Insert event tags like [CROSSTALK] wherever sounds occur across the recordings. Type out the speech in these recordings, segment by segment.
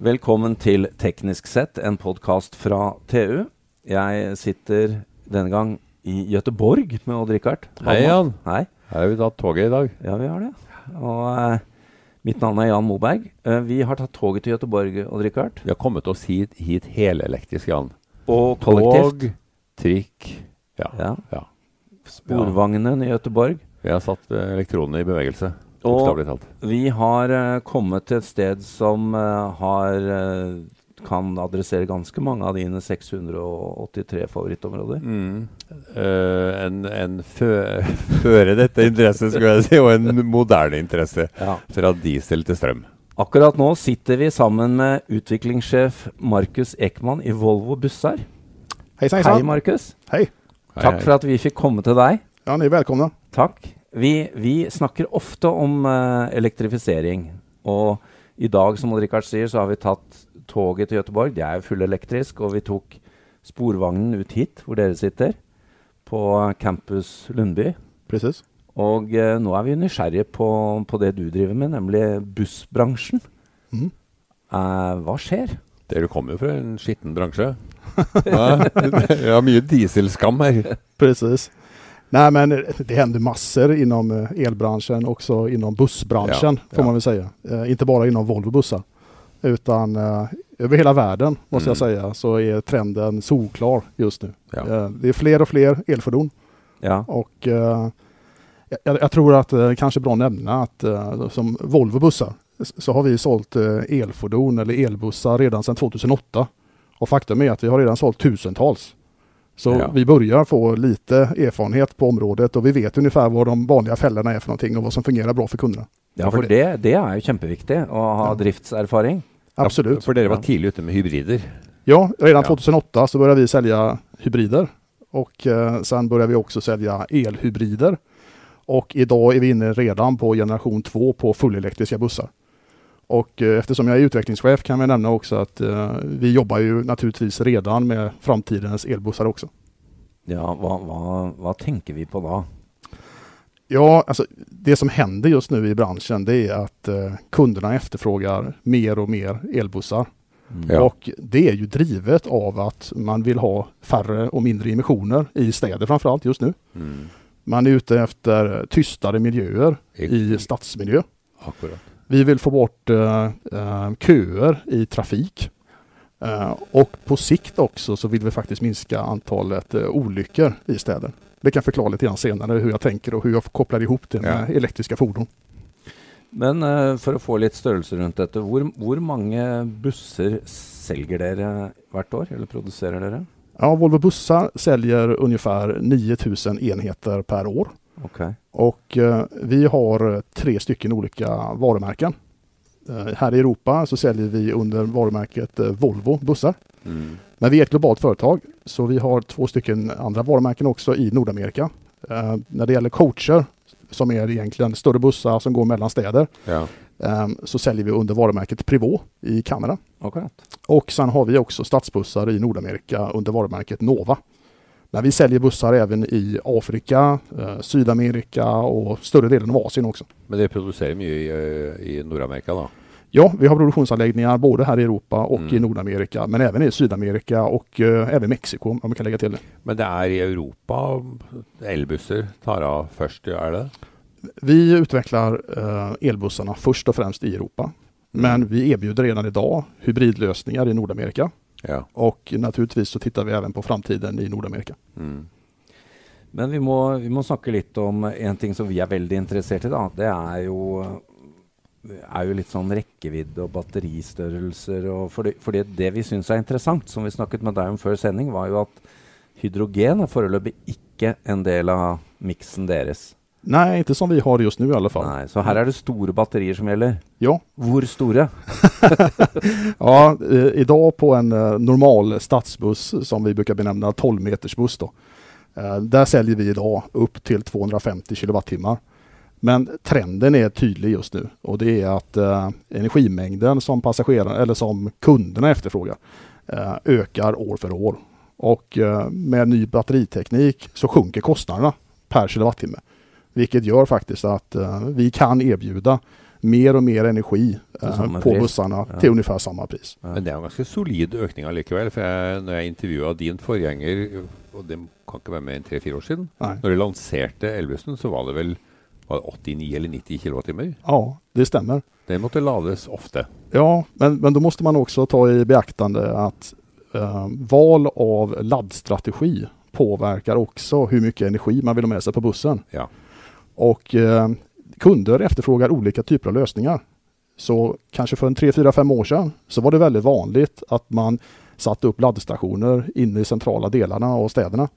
Velkommen til Teknisk sett, en podkast fra TU. Jeg sitter denne gang i Gøteborg med Odd-Rikard. Hei, Jan. Hei. Her har vi tatt toget i dag. Ja, vi har det. Og eh, mitt navn er Jan Moberg. Eh, vi har tatt toget til Gøteborg, Odd-Rikard. Vi har kommet oss hit, hit helelektrisk, Jan. Og kollektivt. Tog, trikk ja. Ja. ja. Sporvognen i Gøteborg. Vi har satt eh, elektronene i bevegelse. Og- Bokstavelig talt. Vi har eh, kommet til et sted som eh, har eh, kan adressere ganske mange av dine 683 favorittområder. Mm. Eh, en en fø [LAUGHS] føre dette interesse, skulle jeg si, og en moderne interesse. Ja. Fra diesel til strøm. Akkurat nå sitter vi sammen med utviklingssjef Markus Ekman i Volvo Bussar. Hei Hei, sann, sann. Markus. Hei. Hei, Takk hei. for at vi fikk komme til deg. Ja, ni är välkomna. Takk. Vi, vi snakker ofte om eh, elektrifisering. Og i dag, som Odd-Rikard sier, så har vi tatt toget til Gøteborg. Det er jo fullelektrisk. Og vi tok sporvognen ut hit, hvor dere sitter, på campus Lundby. Precis. Og eh, nå er vi nysgjerrige på, på det du driver med, nemlig bussbransjen. Mm. Eh, hva skjer? Dere kommer jo fra en skitten bransje. [LAUGHS] Ja, vi har mye dieselskam her. Precis. Nej, men det händer massor inom eh, elbranschen, också inom bussbranschen Ja, får ja. man väl säga. Eh, inte bara inom Volvo bussar, utan eh, över hela världen Mm. måste jag säga så är trenden solklar just nu. Ja. Eh, det är fler och fler elfordon Ja. och eh, jag, jag tror att eh, kanske är bra att nämna att eh, som Volvo bussar s- så har vi sålt eh, elfordon eller elbussar redan sedan 2008. Och faktum är att vi har redan sålt tusentals. Så Ja. vi börjar få lite erfarenhet på området och vi vet ungefär vad de vanliga fällorna är för någonting och vad som fungerar bra för kunderna. Ja, for det, det er jo kjempeviktig å ha Ja. driftserfaring. Absolut. For dere Ja. var tidlig ute med hybrider. Ja, redan Ja. 2008 så började vi sälja hybrider och eh, sen började vi också sälja elhybrider. Och idag är vi inne redan på generation 2 på fullelektriska bussar. Och eh, eftersom jag är utvecklingschef kan vi nämna också att eh, vi jobbar ju naturligtvis redan med framtidens elbussar också. Ja, hva, hva, hva tenker vi på da? Ja, alltså det som händer just nu i branschen det är att eh, kunderna efterfrågar mer och mer elbussar. Mm. Ja. Och det är ju drivet av att man vill ha färre och mindre emissioner i städer framförallt just nu. Mm. Man är ute efter tystare miljöer i stadsmiljö. Akkurat. Vi vill få bort eh, eh, köer i trafik. Eh, och på sikt också så vill vi faktiskt minska antalet eh, olyckor i städer. Det kan jag förklara lite grann senare hur jag tänker och hur jag kopplar ihop det med elektriska fordon. Men eh, for å få litt størrelse rundt dette, hvor, hvor mange busser selger dere hvert år? Eller produserer dere? Ja, Volvo Bussar säljer ungefär 9000 enheter per år. Ok. Och eh, vi har tre stycken olika varumärken. Eh, här i Europa så säljer vi under varumärket eh, Volvo bussar. Mm. Men vi är ett globalt företag så vi har två stycken andra varumärken också i Nordamerika. Eh, när det gäller coacher som är egentligen större bussar som går mellan städer Ja. eh, så säljer vi under varumärket Privot i Kanada. Akkurat. Och sen har vi också stadsbussar i Nordamerika under varumärket Nova. Men vi säljer bussar även i Afrika, eh, Sydamerika och större delen av Asien också. Men dere produserer mye i, eh, i Nord-Amerika, da? Ja, vi har produktionsanläggningar både här i Europa och Mm. i Nordamerika, men även i Sydamerika och eh, även Mexiko om vi kan lägga till det. Men det er i Europa elbusser tar av først, er det? Vi utvecklar eh, elbussarna först och främst i Europa, men vi erbjuder redan idag hybridlösningar i Nordamerika Ja. och naturligtvis så tittar vi även på framtiden i Nordamerika. Mm. Men vi må, vi må snakke litt om en ting som vi er veldig interessert i. da. Det er jo, er jo litt sånn rekkevidde og batteristørrelser. Og fordi, fordi det vi syns er interessant, som vi snakket med deg om før sending, var jo at hydrogen er foreløpig ikke en del av miksen deres. Nej, inte som vi har det just nu i alla fall. Nei, så her er det store batterier som gjelder. Ja, Hvor store? Ja, eh, idag på en eh, normal stadsbuss som vi brukar benämna 12 meters buss då. Eh, där säljer vi idag upp till 250 kilowattimmar. Men trenden är tydlig just nu och det är att eh, energimängden som passagerare eller som kunderna efterfrågar eh, ökar år för år. Och eh, med ny batteriteknik så sjunker kostnaderna per kilowattimme. Vilket gör faktiskt att eh, vi kan erbjuda mer och mer energi Till eh, samma på pris. bussarna Ja. till ungefär samma pris. Men det er en ganske solid økning allikevel. For jeg, når jeg intervjua din forgjenger, og det kan ikke være mer enn tre-fire år siden, Nej. når de lanserte elbussen, så var det vel var det 89 eller 90 kWt. Ja, det stämmer. Den måtte lades ofte. Ja, men, men då måste man också ta i beaktande att eh, val av laddstrategi påverkar också hur mycket energi man vill ha med sig på bussen. Ja. Och eh, kunder efterfrågar olika typer av lösningar. Så kanske för en 3-4-5 år sedan så var det väldigt vanligt att man satte upp laddstationer inne i centrala delarna av städerna.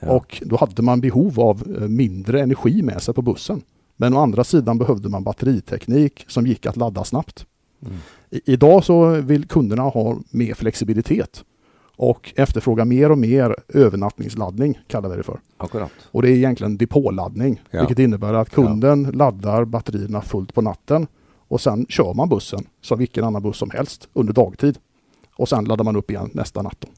Ja. Och då hade man behov av eh, mindre energi med sig på bussen. Men å andra sidan behövde man batteriteknik som gick att ladda snabbt. Mm. I, idag så vill kunderna ha mer flexibilitet och efterfråga mer och mer övernattningsladdning, kallar vi det för. Akkurat. Och det är egentligen depåladdning, Ja. vilket innebär att kunden laddar batterierna fullt på natten och sen kör man bussen som vilken annan buss som helst under dagtid. Och sen laddar man upp igen nästa natt. Då.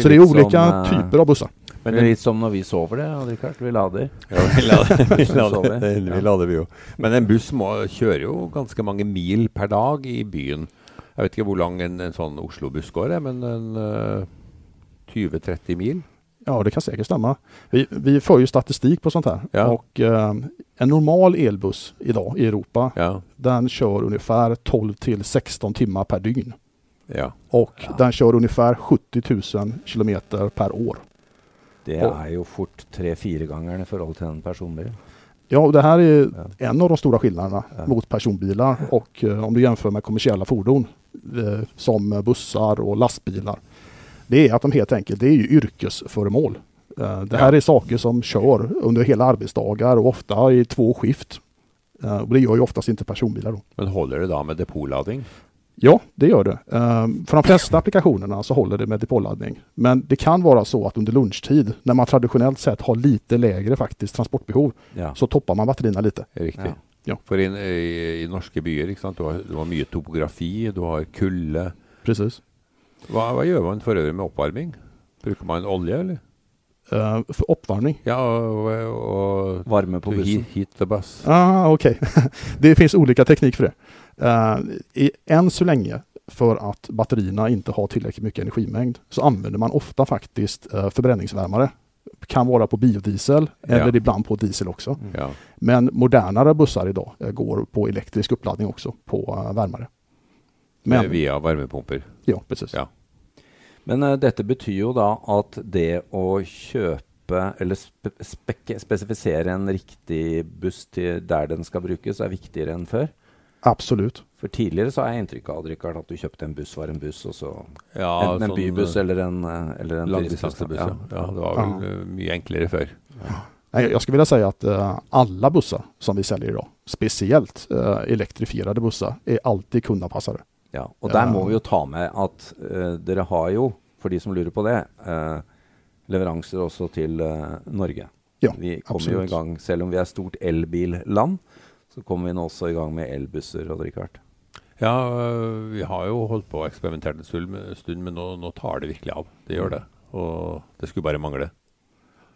Så det är litt olika som, eh, typer av bussar. Men det är lite som när vi sover det, Richard. Vi laddar. Ja, [LAUGHS] vi lader, vi, Så så [LAUGHS] lader, vi. vi lader vi jo. Men en buss må, kjører jo ganske mange mil per dag i byen. Jeg vet ikke hvor lang en, en sånn Oslo-buss går, jeg, men en eh, 20-30 mil? Ja, det kan säkert stämma. Vi, vi för ju statistik på sånt här. Ja. Och eh, en normal elbuss idag i Europa, Ja. den kör ungefär 12 till 16 timmar per dygn. ja. Och Ja. den kör ungefär 70 000 kilometer per år. Det Og- är ju fort tre-fire gånger i förhållande till en personbil. Ja, och det här är Ja. en av de stora skillnaderna Ja. mot personbilar och eh, om du jämför med kommersiella fordon eh, som eh, bussar och lastbilar. Det är att de helt enkelt, det är ju yrkesföremål. Eh, det här är saker som kör under hela arbetsdagar och ofta i två skift. Eh, och det gör ju oftast inte personbilar då. Men holder det da med depotlading? Ja, det gör det. Ehm, För de flesta applikationerna så håller det med depåladdning. Men det kan vara så att under lunchtid, när man traditionellt sett har lite lägre faktiskt transportbehov, Ja. så toppar man batterierna lite. Riktig. Ja. Ja. For in, i, i norske byer, ikke sant? Du, har, du har mye topografi, du har kulde. Precis. Hva, hva gjør man for øvrig med oppvarming? Bruker man olje, eller? Eh, för uppvärmning. Ja, og, og Varme på to bussen. heat, heat the bus. Ah, Okej, [LAUGHS] det finns olika teknik för det. Eh, i, än så länge, för att batterierna inte har tillräckligt mycket energimängd, så använder man ofta faktiskt eh, förbränningsvärmare. Kan vara på biodiesel eller Ja. ibland på diesel också. Mm. Ja. Men modernare bussar idag eh, går på elektrisk uppladdning också på eh, värmare. Men, Via varmepumper. ja, precis. Ja. Men eh, dette betyr jo da at det å kjøpe eller spe spekke- spesifisere en riktig buss til der den skal brukes, er viktigere enn før. Absolut. For tidligere så har jeg inntrykk av Richard, at du kjøpte en buss var en buss, og så Ja, enten en bybuss eller en, eh, eller en Langdistansbuss, ja. ja. Det var Ja. väl eh, mycket enklare förr. Nej, Jag skulle vilja säga att eh, alla bussar som vi säljer idag, speciellt eh, elektrifierade bussar, är alltid kundanpassade. Ja, og der Ja. må vi jo ta med at eh, dere har jo, for de som lurer på det, eh, leveranser også til eh, Norge. Ja, vi kommer jo absolutt. i gang, selv om vi er stort elbilland, så kommer vi nå også i gang med elbusser og drikkevert. Ja, eh, vi har jo holdt på og eksperimentert en stund, men- stund men nå, nå tar det virkelig av. Det gjør det. Og det skulle bare mangle.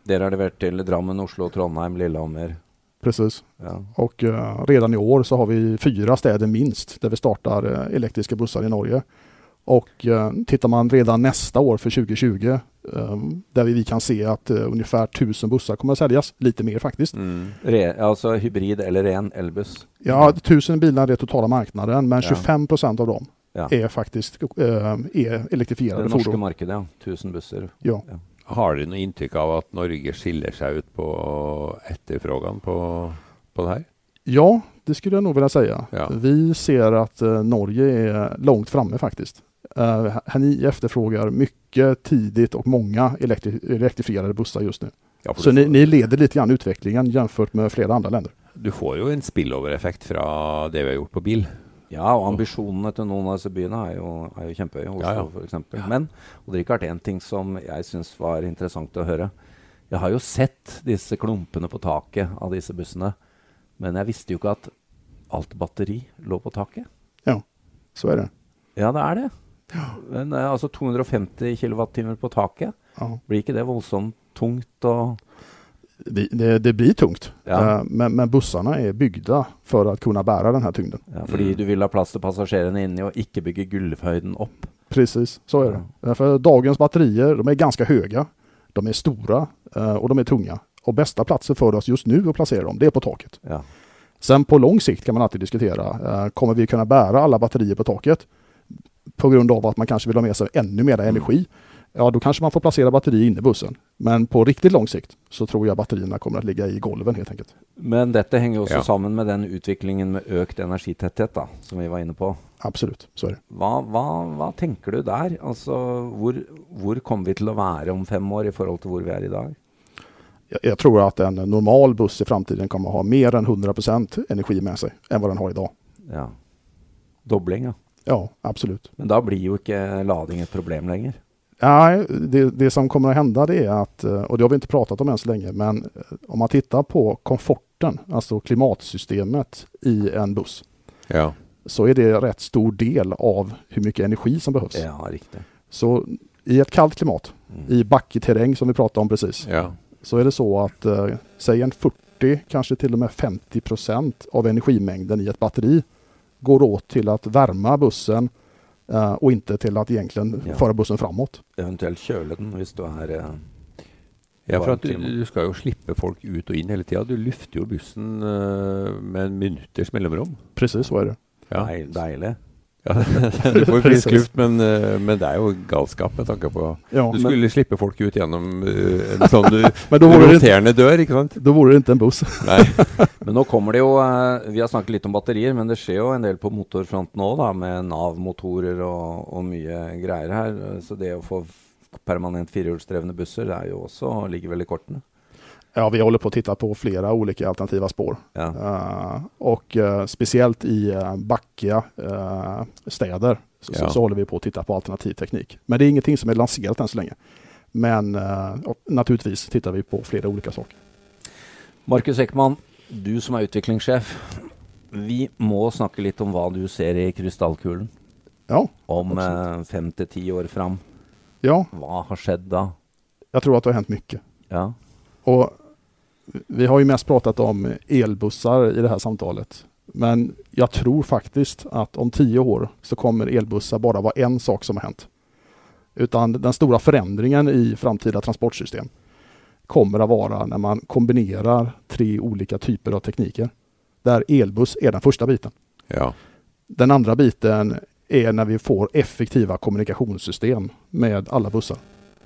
Dere har levert til Drammen, Oslo, Trondheim, Lillehammer. Precis. Ja. Och eh, redan i år så har vi fyra städer minst där vi startar eh, elektriska bussar i Norge. Och eh, tittar man redan nästa år för 2020 eh, där vi, vi kan se att eh, ungefär 1000 bussar kommer att säljas, lite mer faktiskt. Mm. Re, altså hybrid eller ren elbuss. Ja, 1000 bilar är totala marknaden Mm. men Ja. 25 procent av dem Ja. är faktiskt eh, är Det elektrifierade norske fordon. markedet, ja. 1000 busser. Ja. Har dere noe inntrykk av at Norge skiller seg ut på etterfrågan på, på det her? ja, det skulle jag nog vilja säga. Ja. Vi ser att eh, Norge är långt framme faktiskt. Eh, ni efterfrågar mycket tidigt och många elektri- elektrifierade bussar just nu. Ja, for Så du, ni, ni leder lite grann utvecklingen jämfört med flera andra länder. du får jo en spillover-effekt fra det vi har gjort på bil. Ja, og ambisjonene til noen av disse byene er jo, er jo kjempehøye. Oslo, Ja, ja. for eksempel. Men og det har vært en ting som jeg syns var interessant å høre. Jeg har jo sett disse klumpene på taket av disse bussene, men jag visste jo ikke at alt batteri lå på taket. Ja, så är det. Ja, det er det. Men eh, altså 250 kWh på taket, Ja. blir ikke det voldsomt tungt og det, det, det blir tungt. Ja. Eh, Men, men bussarna är byggda för att kunna bära den här tyngden. Ja, fordi Mm. du vil ha plass til passasjerene inni og ikke bygge gulvhøyden opp. Precis, så är det. Därför dagens batterier, de är ganska höga, de är stora eh, och de är tunga. Och bästa platsen för oss just nu att placera dem, det är på taket. Ja. Sen på lång sikt kan man alltid diskutera, eh, kommer vi kunna bära alla batterier på taket? På grund av att man kanske vill ha med sig ännu mer energi. Ja, då kanske man får placera batterier inne i bussen. Men på riktigt lång sikt så tror jag batterierna kommer att ligga i golven helt enkelt. Men dette henger jo også Ja. sammen med den utviklingen med økt energitetthet, da, som vi var inne på. Absolut, så är det. Hva, hva, hva tenker du der? Altså, hvor, hvor kommer vi til å være om fem år i forhold til hvor vi er i dag? Jag, jag tror att en normal buss i framtiden kommer att ha mer än 100% energi med sig än vad den har idag. Ja. Dobling, ja. Ja, absolut. Men da blir jo ikke lading et problem lenger. Nej, det, det som kommer att hända det är att, eh, och det har vi inte pratat om än så länge, men eh, om man tittar på komforten, alltså klimatsystemet i en buss, Ja. så är det rätt stor del av hur mycket energi som behövs. Ja, riktig. Så i ett kallt klimat, Mm. i backig terräng som vi pratade om precis, ja. så är det så att eh, säg en 40, kanske till och med 50 procent av energimängden i ett batteri går åt till att värma bussen eh, og inte till att egentligen Ja. föra bussen framåt. Eventuelt kjøle den hvis du er eh, Ja, for varm at du, klima. du skal jo slippe folk ut og inn hele tida. Du lufter jo bussen eh, med en minutters mellomrom. Precis så är det. Ja. deil, deilig. Ja, [LAUGHS] du får jo Precis. frisk luft, men, eh, men det er jo galskap med tanke på Ja, Du skulle slippe folk ut gjennom eh, en [LAUGHS] sånn eh, men då vore, det, inte- roterende dør, ikke sant? då vore det inte en buss. [LAUGHS] Nei. Men nå kommer det jo eh, Vi har snakket litt om batterier, men det skjer jo en del på motorfronten òg, da, med Nav-motorer og, og mye greier her. Eh, Så det å få f- permanent firehjulsdrevne busser det er jo også ligger vel i kortene. Ja, vi håller på att titta på flera olika alternativa spår. Ja. Eh, och eh, speciellt i uh, backiga eh, städer så, Ja. så, så håller vi på att titta på alternativ teknik. Men det är ingenting som är lanserat än så länge. Men eh, och naturligtvis tittar vi på flera olika saker. Markus Ekman, du som er utviklingssjef. Vi må snakke litt om hva du ser i krystallkulen Ja, om eh, fem til ti år fram. ja, Hva har skjedd da? jag tror att det har hänt mycket. Ja. Och vi har ju mest pratat om elbussar i det här samtalet. Men jag tror faktiskt att om tio år så kommer elbussar bara vara en sak som har hänt. Utan den stora förändringen i framtida transportsystem kommer att vara när man kombinerar tre olika typer av tekniker. Där elbuss är den första biten. Ja. Den andra biten är när vi får effektiva kommunikationssystem med alla bussar.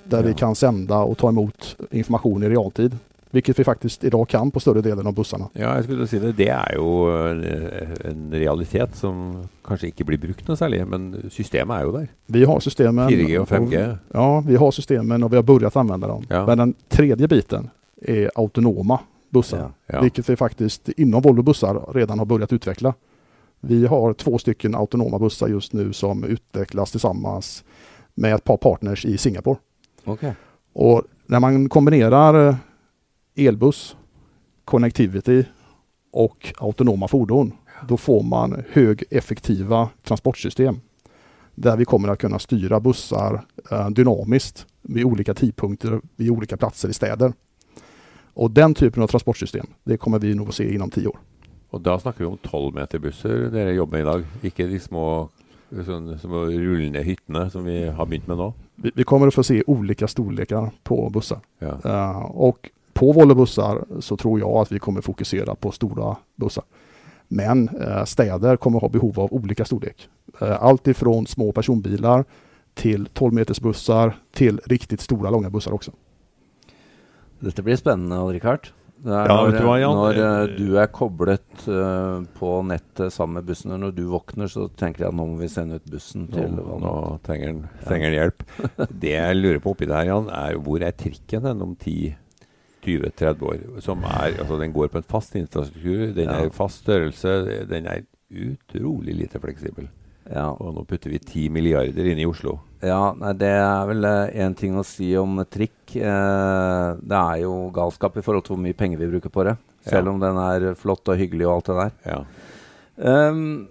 Där vi Ja. kan sända och ta emot information i realtid. Vilket vi faktiskt idag kan på större delen av bussarna. Ja, jeg skulle til å si det. Det er jo en, eh, en realitet som kanskje ikke blir brukt noe særlig, men systemet er jo der. Vi har systemen. 4G og 5G. Ja, vi har systemen och vi har börjat använda dem. Ja. Men den tredje biten är autonoma bussar. Ja. Ja. Vilket vi faktiskt inom Volvo bussar redan har börjat utveckla. Vi har två stycken autonoma bussar just nu som utvecklas tillsammans med ett par partners i Singapore. Ok. Och när man kombinerar eh, elbuss, connectivity och autonoma fordon, då får man högeffektiva transportsystem. Där vi kommer att kunna styra bussar eh, dynamiskt vid olika tidpunkter, vid olika platser i städer. Och den typen av transportsystem, det kommer vi nog att se inom tio år. Og da snakker vi om tolvmeterbusser dere jobber med i dag, ikke de små sånn, som å rulle ned hyttene som vi har begynt med nå. Vi, vi kommer att få se olika storlekar på bussar. Ja. Eh, och på Volvo bussar så tror jag att vi kommer fokusera på stora bussar. Men eh, städer kommer ha behov av olika storlek. Eh, allt ifrån små personbilar till 12 meters bussar till riktigt stora långa bussar också. Dette blir spennende, Richard. Det er Ja, når, vet du hva, Jan? når eh, du er koblet eh, på nettet sammen med bussen, og når du våkner, så tenker jeg at nå må vi sende ut bussen Nå, til nå trenger den, trenger den hjelp. [LAUGHS] Det jeg lurer på oppi der, Jan, er hvor er trikken den om 10-20-30 år? Som er, altså Den går på en fast infrastruktur, den Ja. er fast størrelse, den er utrolig lite fleksibel. Ja, Og nå putter vi 10 milliarder inn i Oslo. ja nei, det er vel én ting å si om trikk. Eh, det er jo galskap i forhold til hvor mye penger vi bruker på det. Selv Ja. om den er flott og hyggelig och allt det där. Ja. Ehm,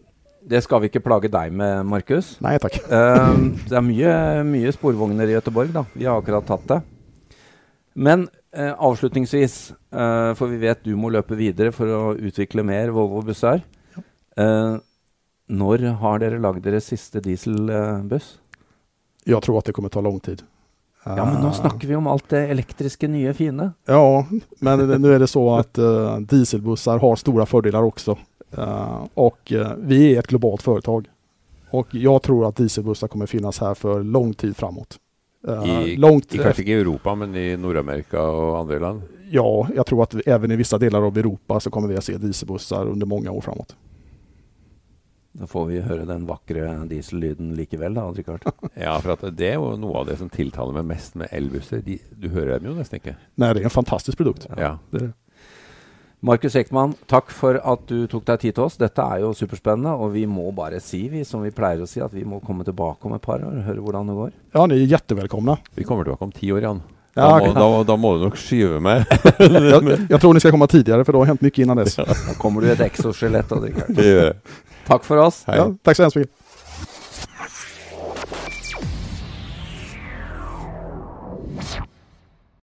det skal vi ikke plage deg med, Markus. Nej tack. Ehm, det er mye, mye sporvogner i Göteborg, da. Vi har akkurat tatt det. Men eh, avslutningsvis, eh, for vi vet du må løpe videre for å utvikle mer Volvo-busser. Eh, når har dere lagd deres siste dieselbuss? Jag tror att det kommer ta lång tid. Ja, men nå Eh, snakker vi om alt det elektriske, nye, fine. Ja, men nu är det så att eh, dieselbussar har stora fördelar också. Eh, och eh, vi är ett globalt företag. Och jag tror att dieselbussar kommer finnas här för lång tid framåt. Eh, I- långt I, kanskje ikke i Europa, men i Nord-Amerika og andre land. efter- ja, jag tror att vi, även i vissa delar av Europa så kommer vi att se dieselbussar under många år framåt. Da får vi høre den vakre diesellyden likevel, da, Richard. Ja, for at det er jo noe av det som tiltaler meg mest med elbusser. De, du hører dem jo nesten ikke. Nej, det är en fantastisk produkt. Ja. Det är det. Markus Ekman, takk for at du tok deg tid til oss. Dette er jo superspennende, og vi må bare si, vi, som vi pleier å si, at vi må komme tilbake om et par år og høre hvordan det går. Ja, ni är jättevälkomna. Vi kommer tilbake om ti år, Jan. Da, Ja, må, da, da må du nok skyve meg. jag, jag tror ni ska komma tidigare för det har hänt mycket innan dess. Da kommer du i et exoskjelett. og drikker. Det gjør jeg. Takk for oss. Hei. Ja, tack så hemskt mycket.